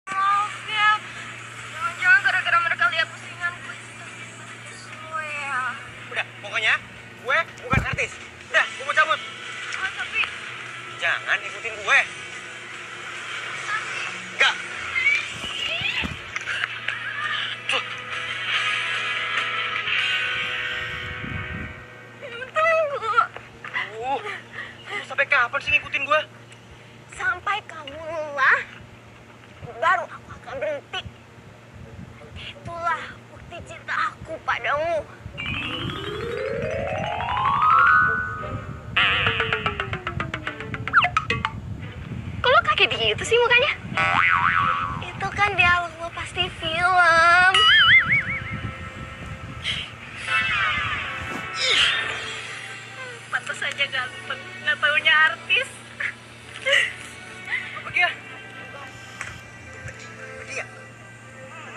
ya. ya dan aku akan berhenti. Itulah bukti cinta aku padamu. Kok lo kaget gitu sih mukanya?